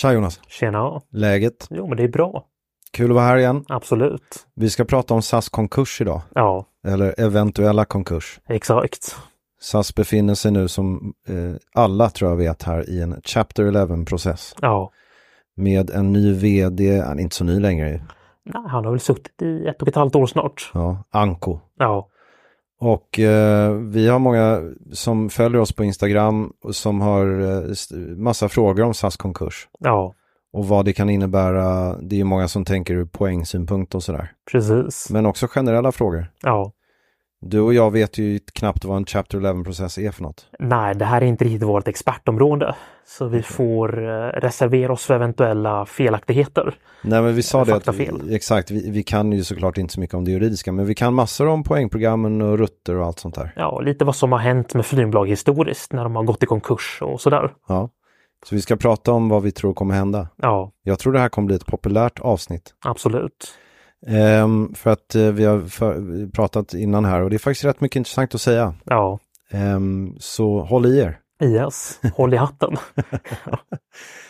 Tja Jonas, Tjena. läget? Jo, men det är bra. Kul att vara här igen. Absolut. Vi ska prata om SAS konkurs idag, Ja, eller eventuella konkurs. exakt. SAS befinner sig nu som eh, alla tror jag vet här i en Chapter 11-process Ja. med en ny vd, han är inte så ny längre ju, Nej, han har väl suttit i ett och ett halvt år snart. ja, Anko. Ja. Och eh, vi har många som följer oss på Instagram och som har eh, st- massa frågor om SAS konkurs Ja, och vad det kan innebära. Det är ju många som tänker ur poängsynpunkt och sådär, precis. men också generella frågor. Ja. Du och jag vet ju knappt vad en Chapter 11-process är för något. Nej, det här är inte riktigt vårt expertområde. Så vi får eh, reservera oss för eventuella felaktigheter. Nej men vi sa Eller det att faktafel. vi, exakt, vi, vi kan ju såklart inte så mycket om det juridiska men vi kan massor om poängprogrammen och rutter och allt sånt där. Ja, lite vad som har hänt med flygbolag historiskt när de har gått i konkurs och sådär. Ja. Så vi ska prata om vad vi tror kommer hända. Ja, Jag tror det här kommer bli ett populärt avsnitt. absolut. Ehm, för att eh, vi har för, pratat innan här och det är faktiskt rätt mycket intressant att säga. Ja, Ehm, så håll i er. IS. Håll i hatten.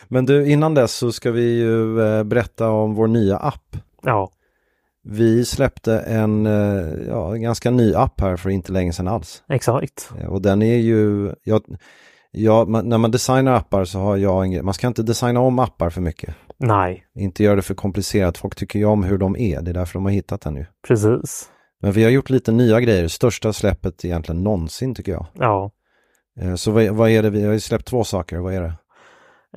Men du, innan dess så ska vi ju eh, berätta om vår nya app. Ja, Vi släppte en, eh, ja, en ganska ny app här för inte länge sedan alls. exakt. Eh, Och den är ju, jag, jag, man, när man designar appar så har jag en grej, man ska inte designa om appar för mycket. Nej, Inte göra det för komplicerat, folk tycker ju om hur de är, det är därför de har hittat den nu. precis. Men vi har gjort lite nya grejer, största släppet egentligen någonsin tycker jag. Ja. Eh, Så vad, vad är det, vi har ju släppt två saker, vad är det?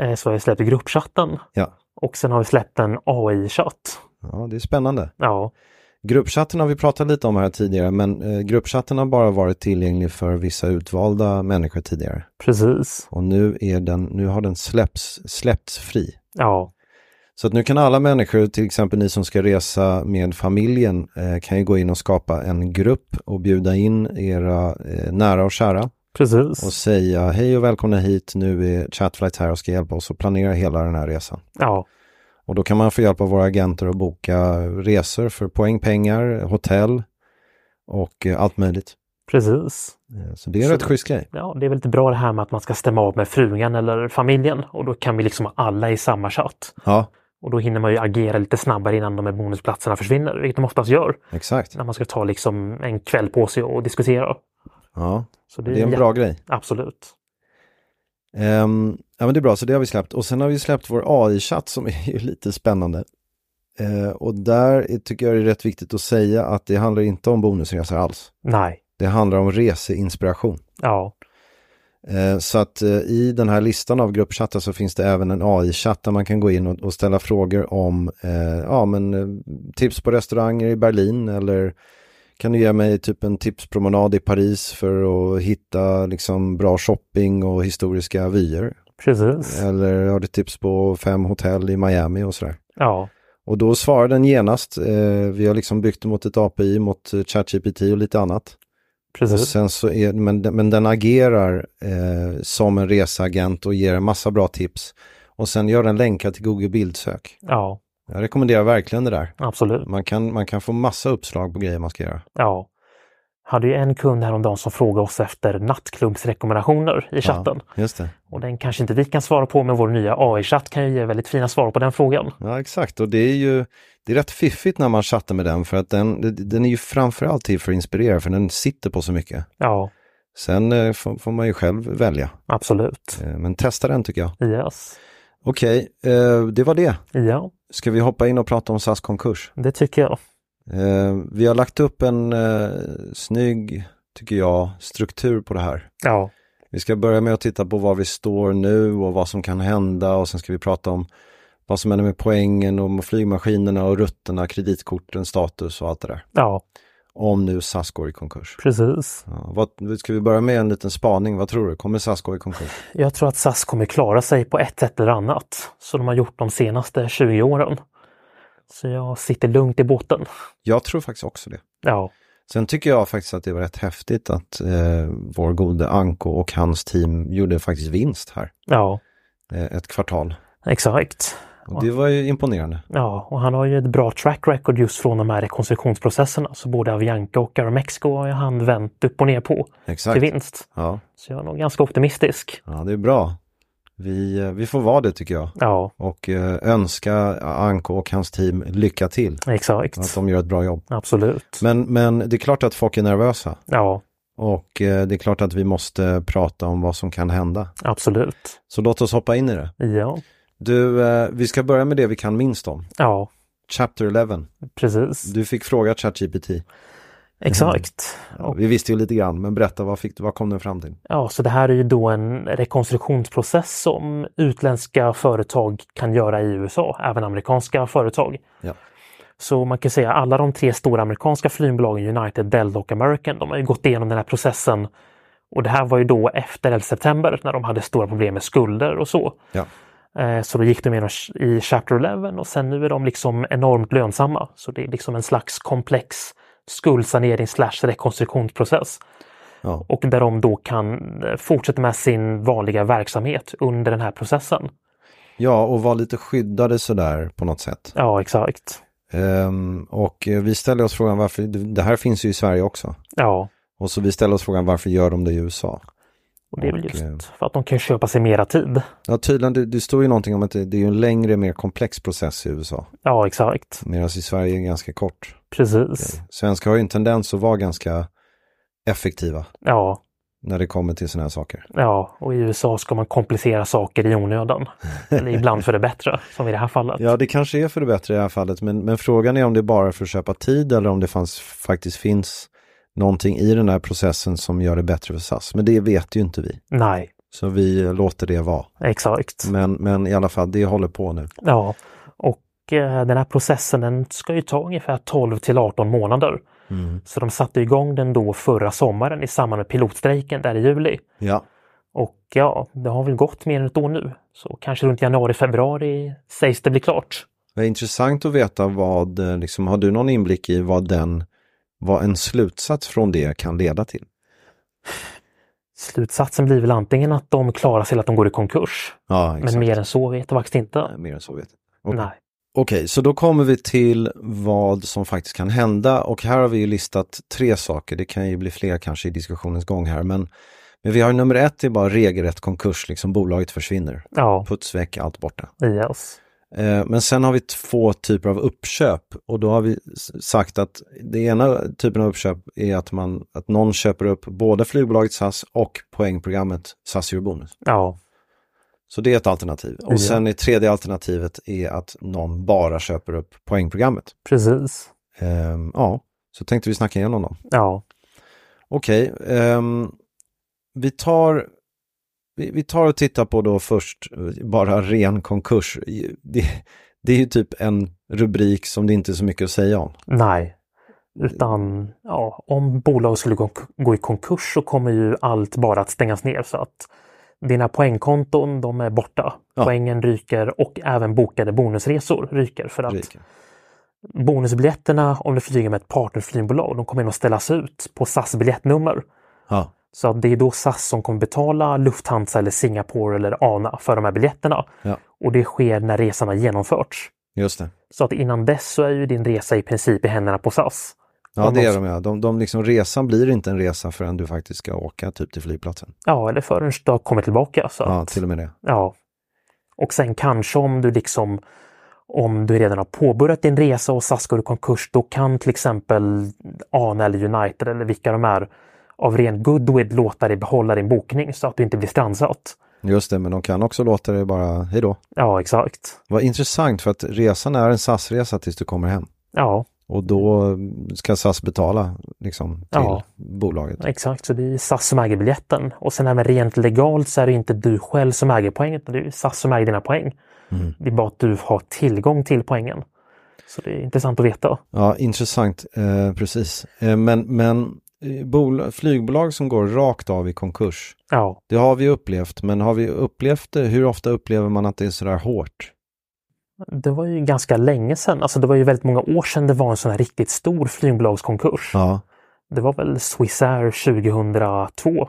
Eh, Så har vi släppt gruppchatten. Ja. Och sen har vi släppt en AI-chatt. Ja, det är spännande. Ja, Gruppchatten har vi pratat lite om här tidigare, men eh, gruppchatten har bara varit tillgänglig för vissa utvalda människor tidigare. precis. Och nu, är den, nu har den släpps, släppts fri. Ja, Så att nu kan alla människor, till exempel ni som ska resa med familjen, eh, kan ju gå in och skapa en grupp och bjuda in era eh, nära och kära och precis. säga hej och välkomna hit, nu är Chatflight här och ska hjälpa oss att planera hela den här resan. Ja, Och då kan man få hjälp av våra agenter att boka resor för poäng, pengar, hotell och eh, allt möjligt. precis. Eh, Så det är en Så- rätt schysst grej. Ja, det är väl lite bra det här med att man ska stämma av med frugan eller familjen och då kan vi liksom ha alla i samma chatt. Ja, Och då hinner man ju agera lite snabbare innan de här bonusplatserna försvinner, vilket de oftast gör exakt. när man ska ta liksom en kväll på sig och diskutera. Ja, Så det är en jä- bra grej. Absolut. Ehm, ja men det är bra, så det har vi släppt. Och sen har vi släppt vår AI-chatt som är ju lite spännande. Eh, och där är- tycker jag det är rätt viktigt att säga att det handlar inte om bonusresor alls. Nej. Det handlar om reseinspiration. Ja, Eh, så att eh, i den här listan av gruppchattar så finns det även en AI-chatt där man kan gå in och, och ställa frågor om eh, ja, men, eh, tips på restauranger i Berlin eller kan du ge mig typ en tipspromenad i Paris för att hitta liksom, bra shopping och historiska vyer? precis. Eller har du tips på fem hotell i Miami och sådär. Ja, Och då svarar den genast. Eh, vi har liksom byggt mot ett API mot eh, ChatGPT och lite annat. Och Precis. sen så är, men, den- men den agerar eh, som en reseagent och ger en massa bra tips. Och sen gör den länkar till Google bildsök. Ja, Jag rekommenderar verkligen det där. absolut. Man kan, man kan få massa uppslag på grejer man ska göra. Ja. Hade ju en kund häromdagen som frågade oss efter nattklubbsrekommendationer i chatten. Ja, just det. Och den kanske inte vi kan svara på, men vår nya AI-chatt kan ju ge väldigt fina svar på den frågan. Ja, exakt. Och det är ju det är rätt fiffigt när man chattar med den för att den, den är ju framförallt till för att inspirera för den sitter på så mycket. Ja, Sen eh, får, får man ju själv välja. absolut. Eh, men testa den tycker jag. Yes. Okej, eh, det var det. Ja, Ska vi hoppa in och prata om SAS konkurs? det tycker jag. Eh, vi har lagt upp en eh, snygg, tycker jag, struktur på det här. Ja, Vi ska börja med att titta på var vi står nu och vad som kan hända och sen ska vi prata om vad som händer med poängen och flygmaskinerna och rutterna, kreditkorten, status och allt det där. ja, Om nu SAS går i konkurs. precis. Ja, vad, ska vi börja med en liten spaning? Vad tror du? Kommer SAS gå i konkurs? Jag tror att SAS kommer klara sig på ett sätt eller annat, som de har gjort de senaste 20 åren. Så jag sitter lugnt i båten. Jag tror faktiskt också det. Ja, Sen tycker jag faktiskt att det var rätt häftigt att eh, vår gode Anko och hans team gjorde faktiskt vinst här ja, eh, ett kvartal. exakt. Och det var ju imponerande. Ja, och han har ju ett bra track record just från de här rekonstruktionsprocesserna. Så både Avianca och Aeromexico har ju han vänt upp och ner på till Exakt. vinst. Ja, Så jag är nog ganska optimistisk. ja, det är bra. Vi, eh, vi får vara det tycker jag. Ja, Och eh, önska Anko och hans team lycka till. exakt. Att de gör ett bra jobb. Absolut. Men, men det är klart att folk är nervösa. Ja, Och eh, det är klart att vi måste prata om vad som kan hända. absolut. Så låt oss hoppa in i det. Ja, Du, eh, vi ska börja med det vi kan minst om. ja, Chapter 11. precis. Du fick fråga ChatGPT. Exakt. Mm. Ja, vi visste ju lite grann, men berätta vad, fick, du- vad kom den fram till? Ja, så det här är ju då en rekonstruktionsprocess som utländska företag kan göra i USA, även amerikanska företag. Ja. Så man kan säga alla de tre stora amerikanska flygbolagen United, Delta och American, de har ju gått igenom den här processen. Och det här var ju då efter 11 september när de hade stora problem med skulder och så. Ja. Eh, Så då gick de igenom i Chapter 11 och sen nu är de liksom enormt lönsamma. Så det är liksom en slags komplex skuldsanering slash rekonstruktionsprocess Ja, och där de då kan eh, fortsätta med sin vanliga verksamhet under den här processen. ja och var lite skyddade sådär på något sätt. Ja, exakt. Ehm, och eh, vi ställer oss frågan varför, det här finns ju i Sverige också. Ja, Och så vi ställer oss frågan varför gör de det i USA? och det är väl Och, eh, just för att de kan köpa sig mera tid. Ja, tydligen, det, det står ju någonting om att det, det är ju en längre, mer komplex process i USA. Ja, exakt. Medan i Sverige är det ganska kort. Precis. Svenskar har ju en tendens att vara ganska effektiva Ja, när det kommer till sådana här saker. ja, och i USA ska man komplicera saker i onödan. Eller ibland för det bättre, som i det här fallet. Ja, det kanske är för det bättre i det här fallet, men, men frågan är om det är bara för att köpa tid eller om det fanns, faktiskt finns någonting i den här processen som gör det bättre för SAS. Men det vet ju inte vi, Nej, så vi eh, låter det vara. exakt. Men, men i alla fall, det håller på nu. Ja, och eh, den här processen den ska ju ta ungefär 12 till 18 månader. Så de satte igång den då förra sommaren i samband med pilotstrejken där i juli. Ja, Och ja, det har väl gått mer än ett år nu. Så kanske runt januari, februari sägs det bli klart. det är intressant att veta vad, eh, liksom, har du någon inblick i vad den, vad en slutsats från det kan leda till? Slutsatsen blir väl antingen att de klarar sig eller att de går i konkurs. Ja, exakt. Mm. Men mer än så vet jag faktiskt inte. Liksom, mer än så vet jag. Okej. Nej. Okej, så då kommer vi till vad som faktiskt kan hända och här har vi ju listat tre saker. Det kan ju bli fler kanske i diskussionens gång här, men, men vi har ju nummer ett, det är bara regelrätt konkurs, liksom bolaget försvinner. Ja, Puts väck, allt borta. yes. Eh, men sen har vi två typer av uppköp och då har vi s- sagt att det ena typen av uppköp är att, man, att någon köper upp både flygbolaget SAS och poängprogrammet SAS Eurobonus. Ja, Så det är ett alternativ. Och Ja. sen det tredje alternativet är att någon bara köper upp poängprogrammet. precis. Ehm, ja, så tänkte vi snacka igenom dem. Ja, Okej, ehm, vi, tar, vi, vi tar och tittar på då först eh, bara ren konkurs. Det, det är ju typ en rubrik som det inte är så mycket att säga om. nej. Utan ja, om bolag skulle gå, gå i konkurs så kommer ju allt bara att stängas ner så att dina poängkonton, de är borta. Ja. Poängen ryker och även bokade bonusresor ryker för att Rubriken. Bonusbiljetterna om du flyger med ett partnerflygbolag, de kommer att ställas ut på SAS biljettnummer. Ja. Så att det är då SAS som kommer betala Lufthansa eller Singapore eller ANA för de här biljetterna. ja, Och det sker när resan har genomförts. just det. Så att innan dess så är ju din resa i princip i händerna på SAS. Ja, Om det de- är de ja. De, de liksom, resan blir inte en resa förrän du faktiskt ska åka typ till flygplatsen. Ja, eller förrän du har kommit tillbaka. Så Ja, att, till och med det. ja. Och sen kanske om du liksom om du redan har påbörjat din resa och SAS går i konkurs, då kan till exempel ANA eller United eller vilka de är av ren goodwill låta dig behålla din bokning så att du inte blir strandsatt. Just det, men de kan också låta det bara, hej då. Ja, exakt. Vad intressant för att resan är en SAS-resa tills du kommer hem. Ja, Och då ska SAS betala liksom till Ja. bolaget. exakt. Så det är SAS som äger biljetten. Och sen även rent legalt så är det inte du själv som äger poängen, utan det är ju SAS som äger dina poäng. Det är bara att du har tillgång till poängen. Så det är intressant att veta. Ja, intressant, eh, precis. Eh, men men eh, bol- flygbolag som går rakt av i konkurs, Ja, det har vi upplevt. Men har vi upplevt det, hur ofta upplever man att det är sådär hårt? Det var ju ganska länge sedan. Alltså det var ju väldigt många år sedan det var en sån här riktigt stor flygbolagskonkurs. Ja. Det var väl Swissair 2002.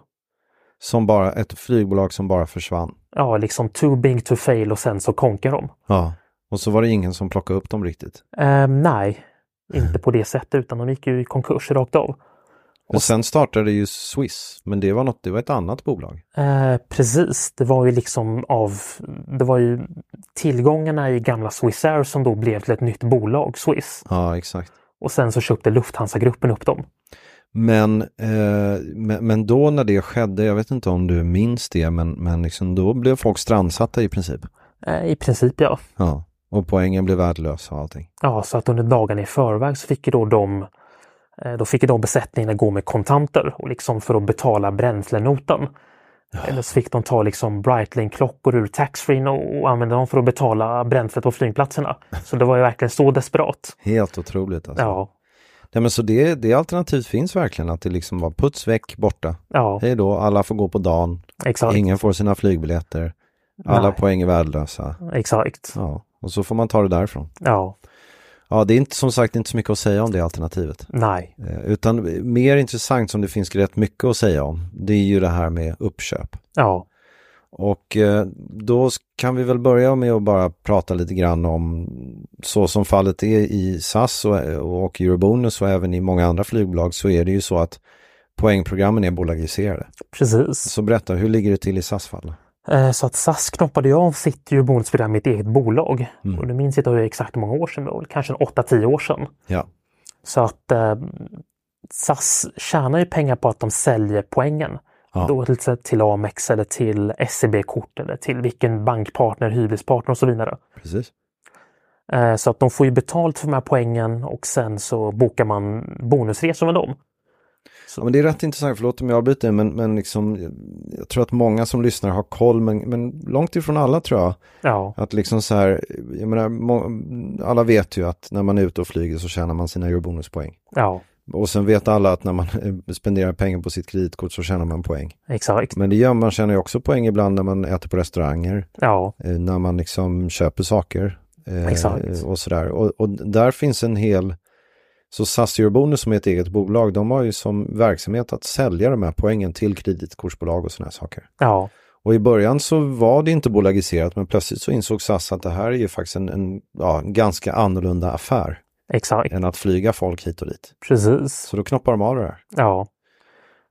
Som bara, ett flygbolag som bara försvann. Ja, liksom too big to fail och sen så konkar de. Ja. Och så var det ingen som plockade upp dem riktigt. Ehm, nej, inte på det sättet utan de gick ju i konkurs rakt av. Och sen startade ju Swiss, men det var något, det var ett annat bolag. Eh, precis, det var ju liksom av... Det var ju tillgångarna i gamla Swissair som då blev till ett nytt bolag, Swiss. Ja, exakt. Och sen så köpte Lufthansa-gruppen upp dem. Men, eh, men, men då när det skedde, jag vet inte om du minns det, men, men liksom då blev folk strandsatta i princip. Eh, I princip ja. Ja. Och poängen blev värdelös och allting. Ja, så att under dagarna i förväg så fick ju då de eh, då fick ju de besättningarna gå med kontanter och liksom för att betala bränslenotan. Eller så fick de ta liksom Breitling-klockor ur taxfree och, och använda dem för att betala bränslet på flygplatserna. Så det var ju verkligen så desperat. Helt otroligt alltså. Ja, Nej, men så det, det alternativet finns verkligen, att det liksom var puts väck, borta. ja, Hej då, alla får gå på dagen, exakt. ingen får sina flygbiljetter, alla Nej. poäng är värdelösa. Exakt. Ja. Och så får man ta det därifrån. Ja, Ja, det är inte, som sagt inte så mycket att säga om det alternativet. nej, Eh, Utan mer intressant som det finns rätt mycket att säga om, det är ju det här med uppköp. ja, Och eh, då s- kan vi väl börja med att bara prata lite grann om så som fallet är i SAS och, eh, och Eurobonus och även i många andra flygbolag så är det ju så att poängprogrammen är bolagiserade. precis. Så berätta, hur ligger det till i SAS fall? Eh, Så att SAS knoppade ju av sitt ju bonusprogram i ett eget bolag. Mm. Och nu minns inte hur exakt hur många år sedan, det var väl kanske en 8-10 år sedan. Ja, Så att eh, SAS tjänar ju pengar på att de säljer poängen. Ja. Då till, exempel till Amex eller till SEB-kort eller till vilken bankpartner, hyrespartner och så vidare. precis. Eh, så att de får ju betalt för de här poängen och sen så bokar man bonusresor med dem. Ja, men det är rätt intressant, förlåt om jag avbryter, men, men liksom, jag tror att många som lyssnar har koll, men, men långt ifrån alla tror jag. Ja, Att liksom så här, jag menar, må, alla vet ju att när man är ute och flyger så tjänar man sina eurobonuspoäng. ja, Och sen vet alla att när man eh, spenderar pengar på sitt kreditkort så tjänar man poäng. exakt. Men det gör man, tjänar ju också poäng ibland när man äter på restauranger, Ja, eh, när man liksom köper saker eh, Exakt. och sådär. Och, och där finns en hel, så SAS Eurobonus som är ett eget bolag, de har ju som verksamhet att sälja de här poängen till kreditkortsbolag och sådana här saker. ja, Och i början så var det inte bolagiserat, men plötsligt så insåg SAS att det här är ju faktiskt en, en ja, en ganska annorlunda affär exakt. än att flyga folk hit och dit. Precis. Så då knoppar de av det här. Ja,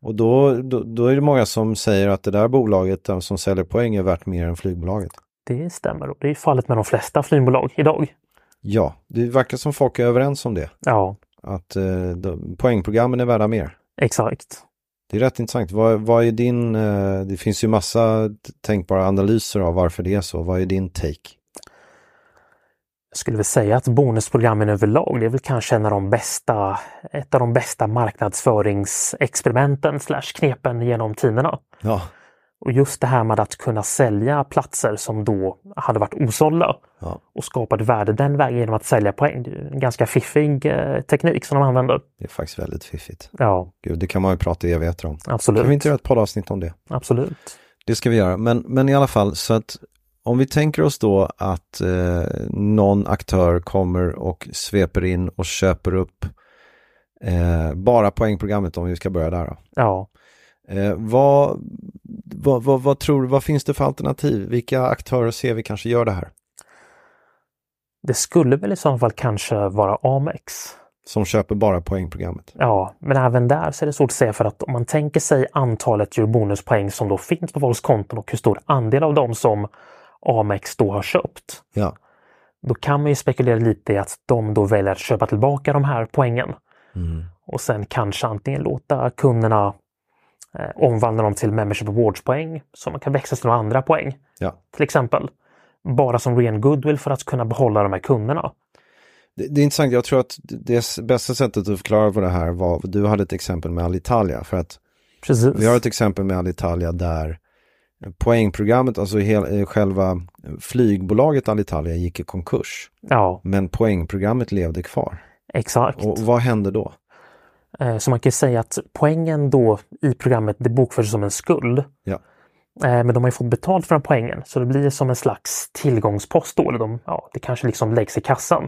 Och då, då, då är det många som säger att det där bolaget de som säljer poäng är värt mer än flygbolaget. det stämmer. Och det är ju fallet med de flesta flygbolag idag. Ja, det verkar som folk är överens om det. Ja, Att eh, de, poängprogrammen är värda mer. exakt. Det är rätt intressant. Vad, vad är din, eh, det finns ju massa t- tänkbara analyser av varför det är så. Vad är din take? Jag skulle väl säga att bonusprogrammen överlag, det är väl kanske en av de bästa, ett av de bästa marknadsföringsexperimenten slash knepen genom tiderna. Ja, Och just det här med att kunna sälja platser som då hade varit osålda Ja. och skapa ett värde den vägen genom att sälja poäng. Det är ju en ganska fiffig eh, teknik som de använder. det är faktiskt väldigt fiffigt. Ja, Gud, det kan man ju prata i evigheter om. Kan absolut. vi inte göra ett poddavsnitt om det? Absolut. Det ska vi göra, men, men i alla fall så att Om vi tänker oss då att eh, någon aktör kommer och sveper in och köper upp eh, bara poängprogrammet om vi ska börja där. Då. Ja, Eh, vad, vad, vad, vad tror du, vad finns det för alternativ? Vilka aktörer ser vi kanske gör det här? det skulle väl i så fall kanske vara Amex. Som köper bara poängprogrammet? Ja, men även där så är det svårt att säga för att om man tänker sig antalet bonuspoäng som då finns på folks konton och hur stor andel av dem som Amex då har köpt. Ja, Då kan man ju spekulera lite i att de då väljer att köpa tillbaka de här poängen. Och sen kanske antingen låta kunderna eh, omvandla dem till membership awards-poäng som man kan växla till några andra poäng. ja. Till exempel bara som ren goodwill för att kunna behålla de här kunderna. Det, det är intressant, jag tror att det s- bästa sättet att förklara på det här var, du hade ett exempel med Alitalia, för att Precis. Vi har ett exempel med Alitalia där poängprogrammet, alltså hel, eh, själva flygbolaget Alitalia gick i konkurs. Ja, Men poängprogrammet levde kvar. exakt. Och vad hände då? Eh, Så man kan ju säga att poängen då i programmet det bokförs som en skuld. Ja, Eh, Men de har ju fått betalt för den poängen så det blir som en slags tillgångspost då. Eller de, ja, det kanske liksom läggs i kassan.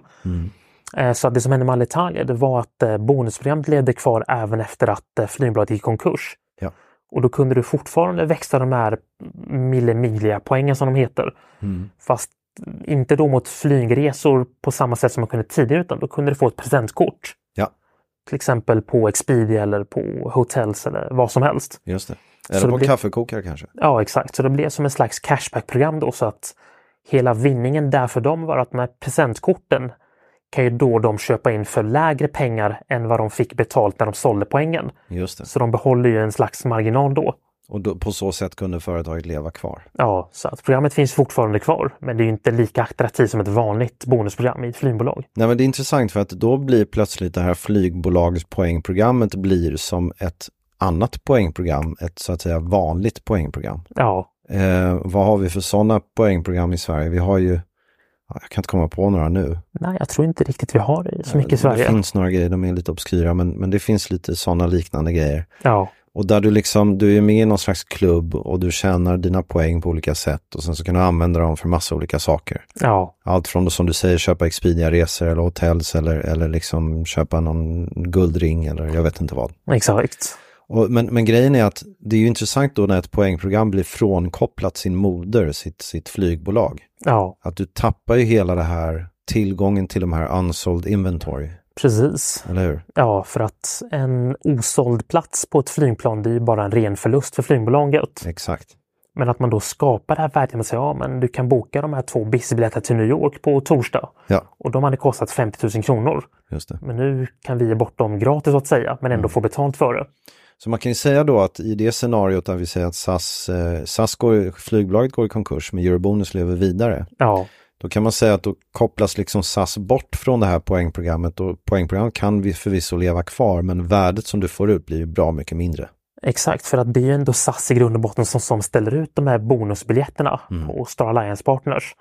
Eh, Så att det som hände med Alitalia det var att eh, bonusprogrammet levde kvar även efter att eh, flygbolaget gick i konkurs. ja, Och då kunde du fortfarande växla de här millimiglia-poängen som de heter. Fast inte då mot flygresor på samma sätt som man kunde tidigare utan då kunde du få ett presentkort. ja, Till exempel på Expedia eller på Hotels eller vad som helst. just det. Så Eller det på en blir- kaffekokare kanske. Ja, exakt. Så det blev som en slags cashback-program då så att hela vinningen där för dem var att de här presentkorten kan ju då de köpa in för lägre pengar än vad de fick betalt när de sålde poängen. Just det. Så de behåller ju en slags marginal då. Och då, på så sätt kunde företaget leva kvar. Ja, så att programmet finns fortfarande kvar, men det är ju inte lika attraktivt som ett vanligt bonusprogram i ett flygbolag. Nej men det är intressant för att då blir plötsligt det här flygbolagspoängprogrammet blir som ett annat poängprogram, ett så att säga vanligt poängprogram. Ja, Eh, vad har vi för sådana poängprogram i Sverige? Vi har ju, ja, jag kan inte komma på några nu. nej, jag tror inte riktigt vi har det så mycket i Det Sverige. finns några grejer, de är lite obskyra, men, men det finns lite sådana liknande grejer. Ja, Och där du liksom, du är med i någon slags klubb och du tjänar dina poäng på olika sätt och sen så kan du använda dem för massa olika saker. ja, Allt från, som du säger, köpa Expedia-resor eller hotels eller, eller liksom köpa någon guldring eller jag vet inte vad. exakt. Och, men, men grejen är att det är ju intressant då när ett poängprogram blir frånkopplat sin moder, sitt, sitt flygbolag. Ja, att du tappar ju hela det här tillgången till de här unsold inventory, precis. eller hur? Ja, för att en osåld plats på ett flygplan, det är ju bara en ren förlust för flygbolaget. Exakt. Men att man då skapar det här värdet med att säga, ja, men du kan boka de här två busybiljetterna till New York på torsdag. Ja, Och de hade kostat 50 000 kronor. just det. Men nu kan vi ge bort dem gratis så att säga, men ändå få betalt för det. Så man kan ju säga då att i det scenariot där vi säger att SAS, eh, SAS går, flygbolaget går i konkurs men Eurobonus lever vidare, Ja, då kan man säga att då kopplas liksom SAS bort från det här poängprogrammet och poängprogrammet kan vi förvisso leva kvar men värdet som du får ut blir ju bra mycket mindre. Exakt, för att det är ju ändå SAS i grund och botten som, som ställer ut de här bonusbiljetterna på Star Alliance Partners.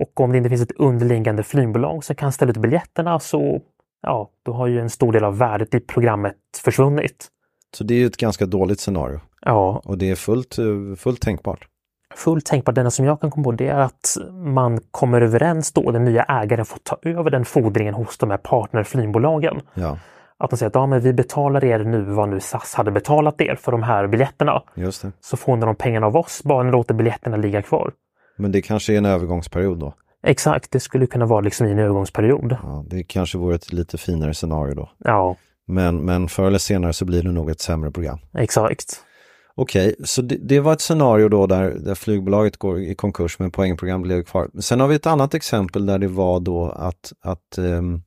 Och om det inte finns ett underliggande flygbolag som kan ställa ut biljetterna så ja, då har ju en stor del av värdet i programmet försvunnit. Så det är ju ett ganska dåligt scenario Ja, och det är fullt, eh, fullt tänkbart. fullt tänkbart, denna som jag kan komma på, det är att man kommer överens då, den nya ägaren får ta över den fordringen hos de här partnerflygbolagen. Ja, Att de säger att ja, men vi betalar er nu vad nu SAS hade betalat er för de här biljetterna. just det. Så får ni de pengarna av oss, bara ni låter biljetterna ligga kvar. Men det kanske är en övergångsperiod då. Exakt, det skulle kunna vara liksom i en övergångsperiod. Ja, det kanske vore ett lite finare scenario då. Ja, Men, men förr eller senare så blir det nog ett sämre program. exakt. Okej, så det, det var ett scenario då där, där flygbolaget går i konkurs men poängprogram blev kvar. Sen har vi ett annat exempel där det var då att, att, ehm,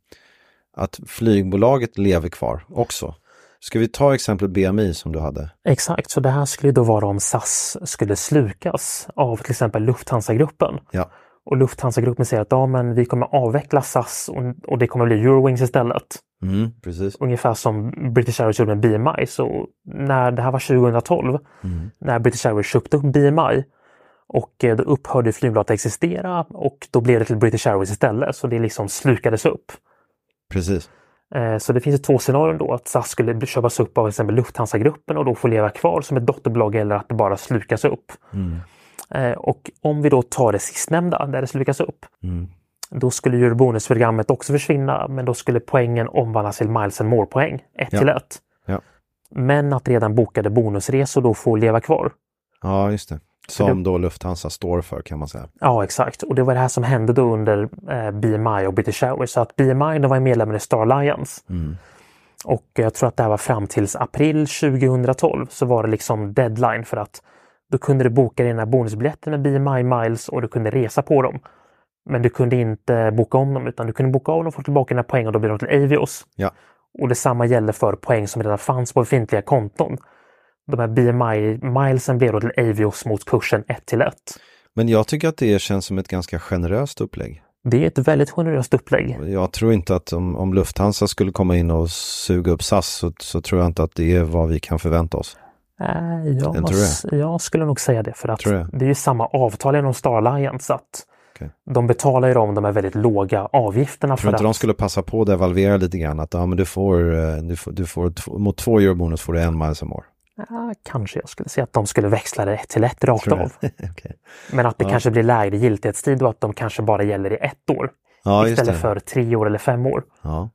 att flygbolaget lever kvar också. Ska vi ta exemplet BMI som du hade? Exakt, så det här skulle då vara om SAS skulle slukas av till exempel Lufthansa-gruppen. Ja, Och Lufthansa-gruppen säger att ja, men vi kommer avveckla SAS och, och det kommer bli Eurowings istället. mm, precis. Ungefär som British Airways gjorde med BMI. Så när det här var 2012, när British Airways köpte upp BMI och eh, då upphörde flygbolaget att existera och då blev det till British Airways istället. Så det liksom slukades upp. precis. Eh, Så det finns ju två scenarion då. Att SAS skulle bli- köpas Mm. upp av till exempel Lufthansa-gruppen och då få leva kvar som ett dotterbolag eller att det bara slukas upp. Eh, och om vi då tar det sistnämnda, där det slukas upp, Mm. då skulle ju bonusprogrammet också försvinna, men då skulle poängen omvandlas till miles and more-poäng, ett Ja. till ett. Ja. Men att redan bokade bonusresor då får leva kvar. Ja, just det. Som då Lufthansa står för kan man säga. Ja, exakt. Och det var det här som hände då under eh, BMI och British Airways. Så att BMI de var ju medlemmar i Star Alliance. Och jag tror att det här var fram tills april 2012 så var det liksom deadline för att då kunde du boka dina bonusbiljetter med BMI Miles och du kunde resa på dem. Men du kunde inte boka om dem utan du kunde boka om dem, få tillbaka dina poäng och då blir de till Avios. Ja, Och detsamma gäller för poäng som redan fanns på befintliga konton. De här BMI-milesen blev då till Avios mot kursen 1 till 1. men jag tycker att det känns som ett ganska generöst upplägg. Det är ett väldigt generöst upplägg. Jag tror inte att om, om Lufthansa skulle komma in och suga upp SAS så, så tror jag inte att det är vad vi kan förvänta oss. Äh, jag, tror s- jag skulle nog säga det för att Tror jag. det är ju samma avtal inom Star Alliance. så Att Okej. De betalar ju dem de här väldigt låga avgifterna. Tror för inte de att, skulle passa på att devalvera lite grann? Att ja, men du får, eh, du får, du får två, mot två euro bonus får du en miles om år. Ah, kanske jag skulle säga att de skulle växla det ett till ett rakt Tror jag. av. Okej. Men att det kanske blir lägre giltighetstid och att de kanske bara gäller i ett år. Ja, just istället det. för tre år eller fem år. Ja.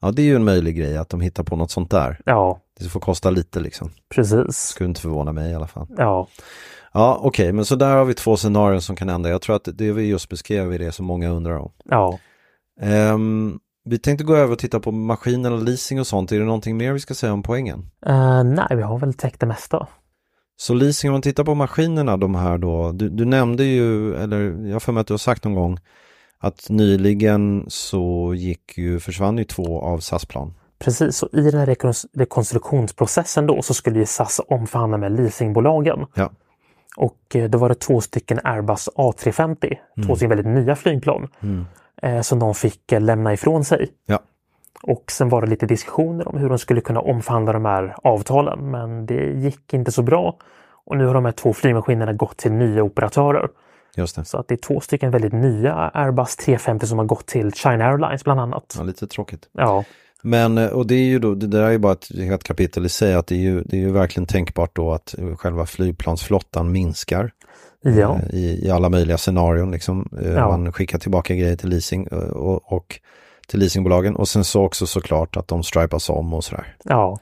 ja, det är ju en möjlig grej att de hittar på något sånt där. Ja, Det får kosta lite liksom. precis. Skulle inte förvåna mig i alla fall. Ja, Ja, okej, men så där har vi två scenarion som kan hända. Jag tror att det vi just beskrev är det som många undrar om. ja. Ehm, vi tänkte gå över och titta på maskiner och leasing och sånt. Är det någonting mer vi ska säga om poängen? Eh, nej, vi har väl täckt det mesta. Så leasing, om man tittar på maskinerna, de här då, du, du nämnde ju, eller jag har för mig att du har sagt någon gång, att nyligen så gick ju, försvann ju två av SAS-plan. Precis, och i den här rekon- rekonstruktionsprocessen då så skulle ju SAS omförhandla med leasingbolagen. Ja. Och eh, då var det två stycken Airbus A350, Mm. två stycken väldigt nya flygplan, eh, som de fick eh, lämna ifrån sig. Ja. Och sen var det lite diskussioner om hur de skulle kunna omförhandla de här avtalen, men det gick inte så bra. Och nu har de här två flygmaskinerna gått till nya operatörer. Just det. Så att det är två stycken väldigt nya Airbus 350 som har gått till China Airlines bland annat. Ja, lite tråkigt. Ja, Men, eh, och det är ju då, det där är ju bara ett helt kapitel i sig, att det är ju, det är ju verkligen tänkbart då att eh, själva flygplansflottan minskar. ja. eh, i, i alla möjliga scenarion. Liksom. Eh, Ja. Man skickar tillbaka grejer till leasing eh, och, och till leasingbolagen och sen så också såklart att de stripas om och sådär. ja.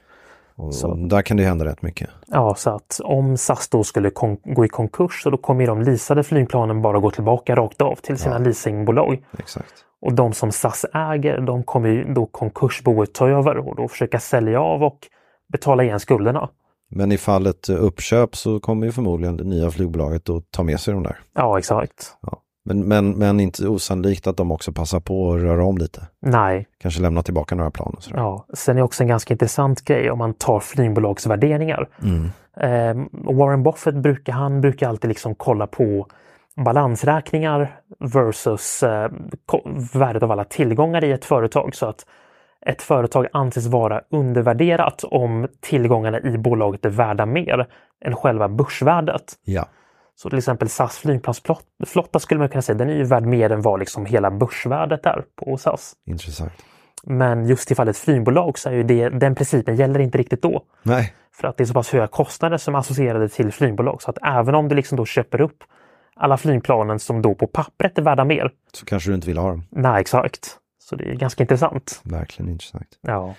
Och, Så. och där kan det ju hända rätt mycket. Ja, så att om SAS då skulle kon- gå i konkurs så då kommer ju de leasade flygplanen bara gå tillbaka rakt av till sina leasingbolag. Exakt. Och de som SAS äger, de kommer ju då konkursboet ta över och då försöka sälja av och betala igen skulderna. Men i fallet eh, uppköp så kommer ju förmodligen det nya flygbolaget att ta med sig de där. Ja, exakt. Ja. Men, men, men inte osannolikt att de också passar på att röra om lite. Nej, Kanske lämna tillbaka några plan och sådär. ja. Sen är också en ganska intressant grej om man tar flygbolagsvärderingar. Eh, Warren Buffett brukar, han brukar alltid liksom kolla på balansräkningar versus eh, ko- värdet av alla tillgångar i ett företag. Så att ett företag anses vara undervärderat om tillgångarna i bolaget är värda mer än själva börsvärdet. Ja. Så till exempel SAS flygplansflotta skulle man kunna säga, den är ju värd mer än vad liksom hela börsvärdet är på SAS. intressant. Men just i fallet flygbolag så är ju det, den principen gäller inte riktigt då. Nej, För att det är så pass höga kostnader som är associerade till flygbolag. Så att även om du liksom då köper upp alla flygplanen som då på pappret är värda mer. så kanske du inte vill ha dem. Nej, exakt. Så det är ganska intressant. Verkligen intressant. Ja,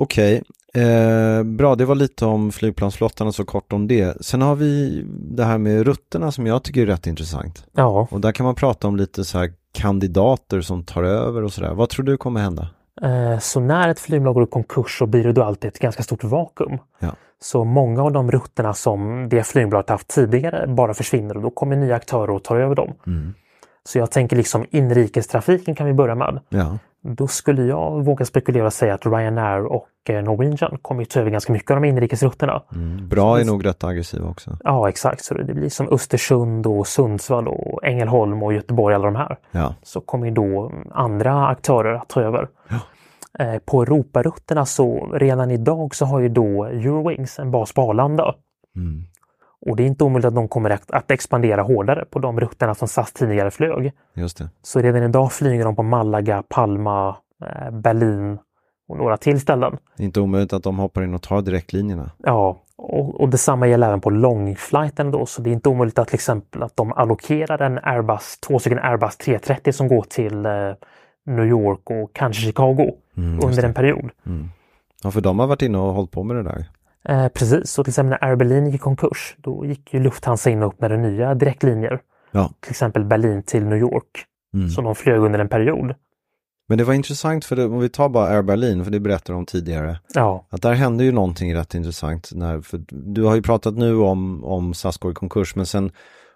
Okej, eh, bra. Det var lite om flygplansflottan och så kort om det. Sen har vi det här med rutterna som jag tycker är rätt intressant. ja. Och där kan man prata om lite så här kandidater som tar över och sådär. Vad tror du kommer hända? Eh, Så när ett flygbolag går i konkurs så blir det då alltid ett ganska stort vakuum. Ja. Så många av de rutterna som det flygbolaget haft tidigare bara försvinner och då kommer nya aktörer och tar över dem. Så jag tänker liksom inrikestrafiken kan vi börja med. Ja, Då skulle jag våga spekulera och säga att Ryanair och eh, Norwegian kommer ju ta över ganska mycket av de inrikesrutterna. Mm. bra är nog rätt aggressiva också. Ja, exakt. Så det blir som Östersund och Sundsvall och Ängelholm och Göteborg, alla de här. Ja, Så kommer ju då mm, andra aktörer att ta över. Eh, På Europarutterna så redan idag så har ju då Eurowings en bas på Arlanda. Och det är inte omöjligt att de kommer att, att expandera hårdare på de rutterna som SAS tidigare flög. just det. Så redan idag flyger de på Malaga, Palma, eh, Berlin och några till ställen. Det är Inte omöjligt att de hoppar in och tar direktlinjerna. Ja, Och, och detsamma gäller även på långflighten då, så det är inte omöjligt att till exempel att de allokerar en Airbus, två stycken Airbus 330 som går till eh, New York och kanske Chicago Mm, under en period. Ja, för de har varit inne och hållit på med det där. Eh, precis, så till exempel när Air Berlin gick i konkurs, då gick ju Lufthansa in och öppnade nya direktlinjer, Ja. till exempel Berlin till New York, Mm. som de flög under en period. Men det var intressant, för det, om vi tar bara Air Berlin, för det berättade de om tidigare, Ja, att där hände ju någonting rätt intressant. När, för du har ju pratat nu om, om SAS går i konkurs, men sen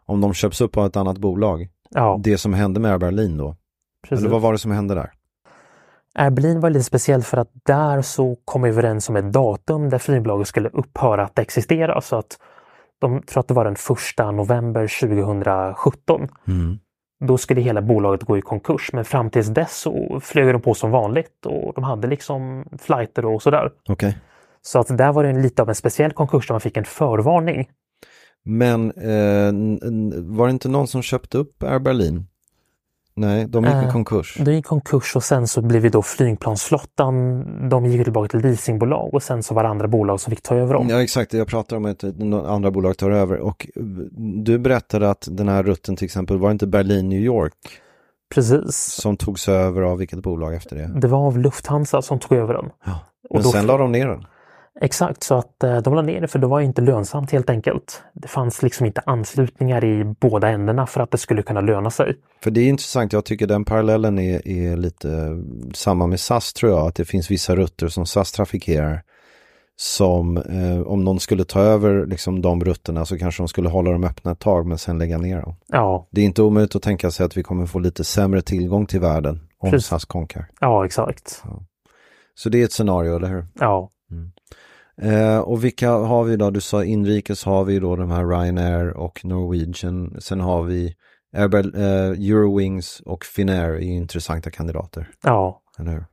om de köps upp av ett annat bolag, ja det som hände med Air Berlin då, precis. eller vad var det som hände där? Air Berlin var lite speciellt för att där så kom vi överens om ett datum där flygbolaget skulle upphöra att existera. Så att de tror att det var den 1 november 2017. Då skulle hela bolaget gå i konkurs men fram tills dess så flög de på som vanligt och de hade liksom flighter och sådär. Okej. Så att där var det en, lite av en speciell konkurs där man fick en förvarning. Men eh, n- n- var det inte någon som köpte upp Air Berlin? Nej, de gick i Eh, konkurs. Det gick konkurs och sen så blev ju då flygplansflottan, de gick tillbaka till leasingbolag och sen så var det andra bolag som fick ta över dem. Ja, exakt. Jag pratar om att några andra bolag tar över. Och eh, du berättade att den här rutten till exempel, var det inte Berlin-New York Precis. som togs över av vilket bolag efter det? Det var av Lufthansa som tog över den. och Men då- sen la de ner den. Exakt, så att eh, de la ner det för det var ju inte lönsamt helt enkelt. Det fanns liksom inte anslutningar i båda ändarna för att det skulle kunna löna sig. För det är intressant, jag tycker den parallellen är, är lite eh, samma med SAS tror jag, att det finns vissa rutter som SAS trafikerar som eh, om någon skulle ta över liksom, de rutterna så kanske de skulle hålla dem öppna ett tag men sen lägga ner dem. Ja, Det är inte omöjligt att tänka sig att vi kommer få lite sämre tillgång till världen om Precis. SAS konkar. ja exakt. Så det är ett scenario, eller hur? Ja, Eh, och vilka har vi då? Du sa inrikes har vi då de här Ryanair och Norwegian. Sen har vi Air Bel- eh, Eurowings och Finnair är intressanta kandidater, ja. eller hur?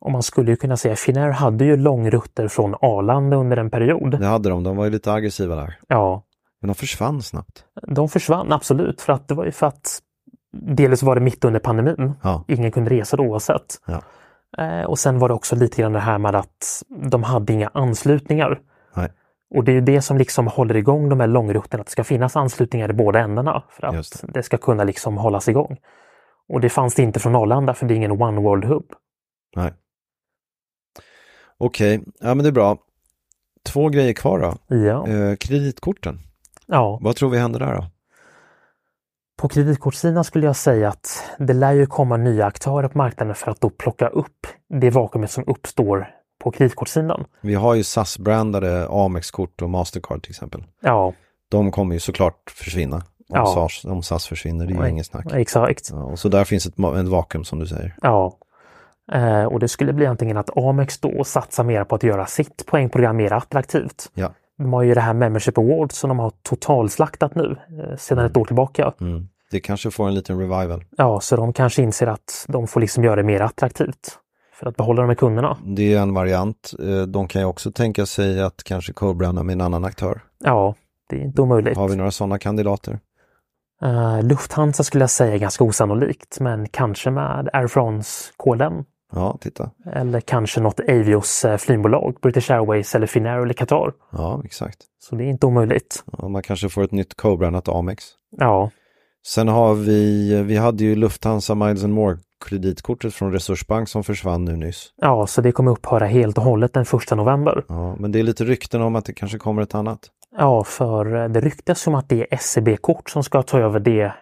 Och man skulle ju kunna säga Finnair hade ju långrutter från Arlanda under en period. Det hade de, de var ju lite aggressiva där. Ja, Men de försvann snabbt. de försvann absolut för att det var ju för att delvis var det mitt under pandemin. Ja, Ingen kunde resa då oavsett. Ja. Eh, och sen var det också lite grann det här med att de hade inga anslutningar. Nej. Och det är ju det som liksom håller igång de här långrutterna, att det ska finnas anslutningar i båda ändarna för att Just det. ska kunna liksom hållas igång. Och det fanns det inte från Arlanda för det är ingen One World Hub. nej. Okej, ja men det är bra. Två grejer kvar då. Ja, Eh, kreditkorten, ja. vad tror vi händer där då? På kreditkortssidan skulle jag säga att det lär ju komma nya aktörer på marknaden för att då plocka upp det vakuumet som uppstår på kreditkortssidan. Vi har ju SAS-brandade Amex-kort och Mastercard till exempel. Ja, De kommer ju såklart försvinna. Om, Ja. SAS, om SAS försvinner, det är ju Nej. inget snack. exakt. Ja, och så där finns ett, ma- ett vakuum som du säger. Ja. Eh, och det skulle bli antingen att Amex då satsar mer på att göra sitt poängprogram mer attraktivt. Ja. De har ju det här Membership Award som de har totalslaktat nu eh, sedan ett år tillbaka. Mm. Det kanske får en liten revival. Ja, så de kanske inser att de får liksom göra det mer attraktivt för att behålla de här kunderna. Det är en variant. Eh, De kan ju också tänka sig att kanske co-branda med en annan aktör. Ja, det är inte omöjligt. Har vi några sådana kandidater? Eh, Lufthansa skulle jag säga är ganska osannolikt, men kanske med Air France KLM Ja, titta. eller kanske något Avios eh, flygbolag, British Airways eller Finnair eller Qatar. Ja, exakt. Så det är inte omöjligt. Ja, man kanske får ett nytt co-brandat Amex. Ja, Sen har vi, vi hade ju Lufthansa Miles and More kreditkortet från Resursbank som försvann nu nyss. Ja, så det kommer upphöra helt och hållet den 1 november. Ja, men det är lite rykten om att det kanske kommer ett annat. Ja, för eh, det ryktas om att det är SEB-kort som ska ta över det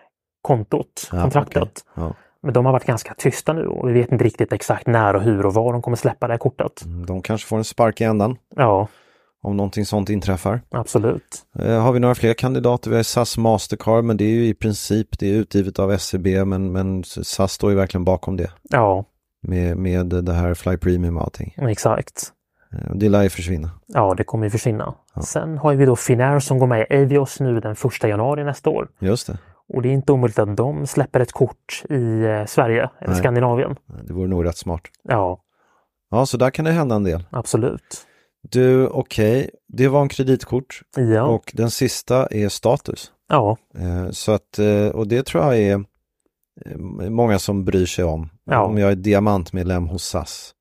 kontot, Ja, kontraktet. okej. Ja. Men de har varit ganska tysta nu och vi vet inte riktigt exakt när och hur och var de kommer släppa det här kortet. Mm, De kanske får en spark i ändan Ja, om någonting sånt inträffar. absolut. Eh, har vi några fler kandidater? Vi har SAS Mastercard, men det är ju i princip det är utgivet av SCB, men, men SAS står ju verkligen bakom det Ja, med, med det här Fly Premium och allting. exakt. Eh, och Det lär ju försvinna. Ja, det kommer ju försvinna. Sen har vi då Finnair som går med i Avios nu den 1 januari nästa år. Just det. Och det är inte omöjligt att de släpper ett kort i eh, Sverige eller Nej. Skandinavien. Det vore nog rätt smart. Ja, Ja, så där kan det hända en del. absolut. Du, okej, det var en kreditkort Ja, och den sista är status. ja, Eh, Så att, eh, och det tror jag är eh, många som bryr sig om. Ja. Om jag är diamantmedlem hos SAS,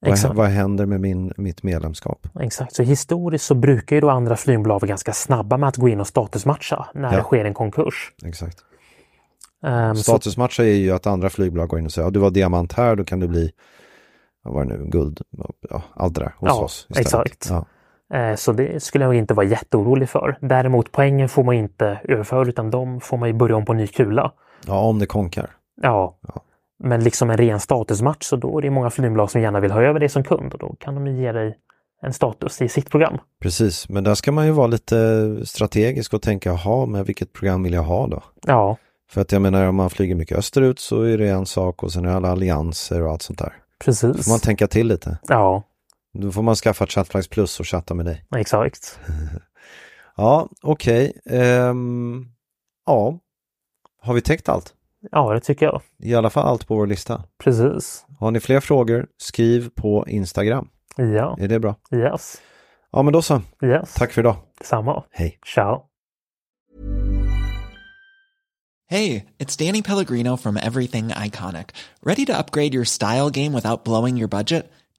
Vad, Exakt. vad händer med min, mitt medlemskap? Exakt, så historiskt så brukar ju då andra flygbolag vara ganska snabba med att gå in och statusmatcha när Ja. det sker en konkurs. Exakt. Ehm, så, Statusmatcher är ju att andra flygbolag går in och säger ja, du var diamant här, då kan du bli vad var det nu, guld, ja, allt det där hos Ja, oss istället. exakt. Ja, eh, så det skulle jag inte vara jätteorolig för. Däremot poängen får man ju inte överföra utan de får man ju börja om på ny kula. ja, om det konkar. Ja. Ja. Men liksom en ren statusmatch så då är det många flygbolag som gärna vill ha över dig som kund och då kan de ju ge dig en status i sitt program. Precis, men där ska man ju vara lite strategisk och tänka, jaha, men vilket program vill jag ha då? Ja, För att jag menar, om man flyger mycket österut så är det en sak och sen är det alla allianser och allt sånt där. Då precis. får man tänka till lite. Ja, Då får man skaffa Chatflags Plus och chatta med dig. exakt. Ja, okej. Ehm, ja, har vi täckt allt? Ja, det tycker jag. I alla fall allt på vår lista. Precis. Har ni fler frågor, skriv på Instagram. Ja, Är det bra? yes. Ja, men då så. Yes. Tack för idag. Detsamma. Hej. Ciao. Hey, it's Danny Pellegrino from Everything Iconic. Ready to upgrade your style game without blowing your budget?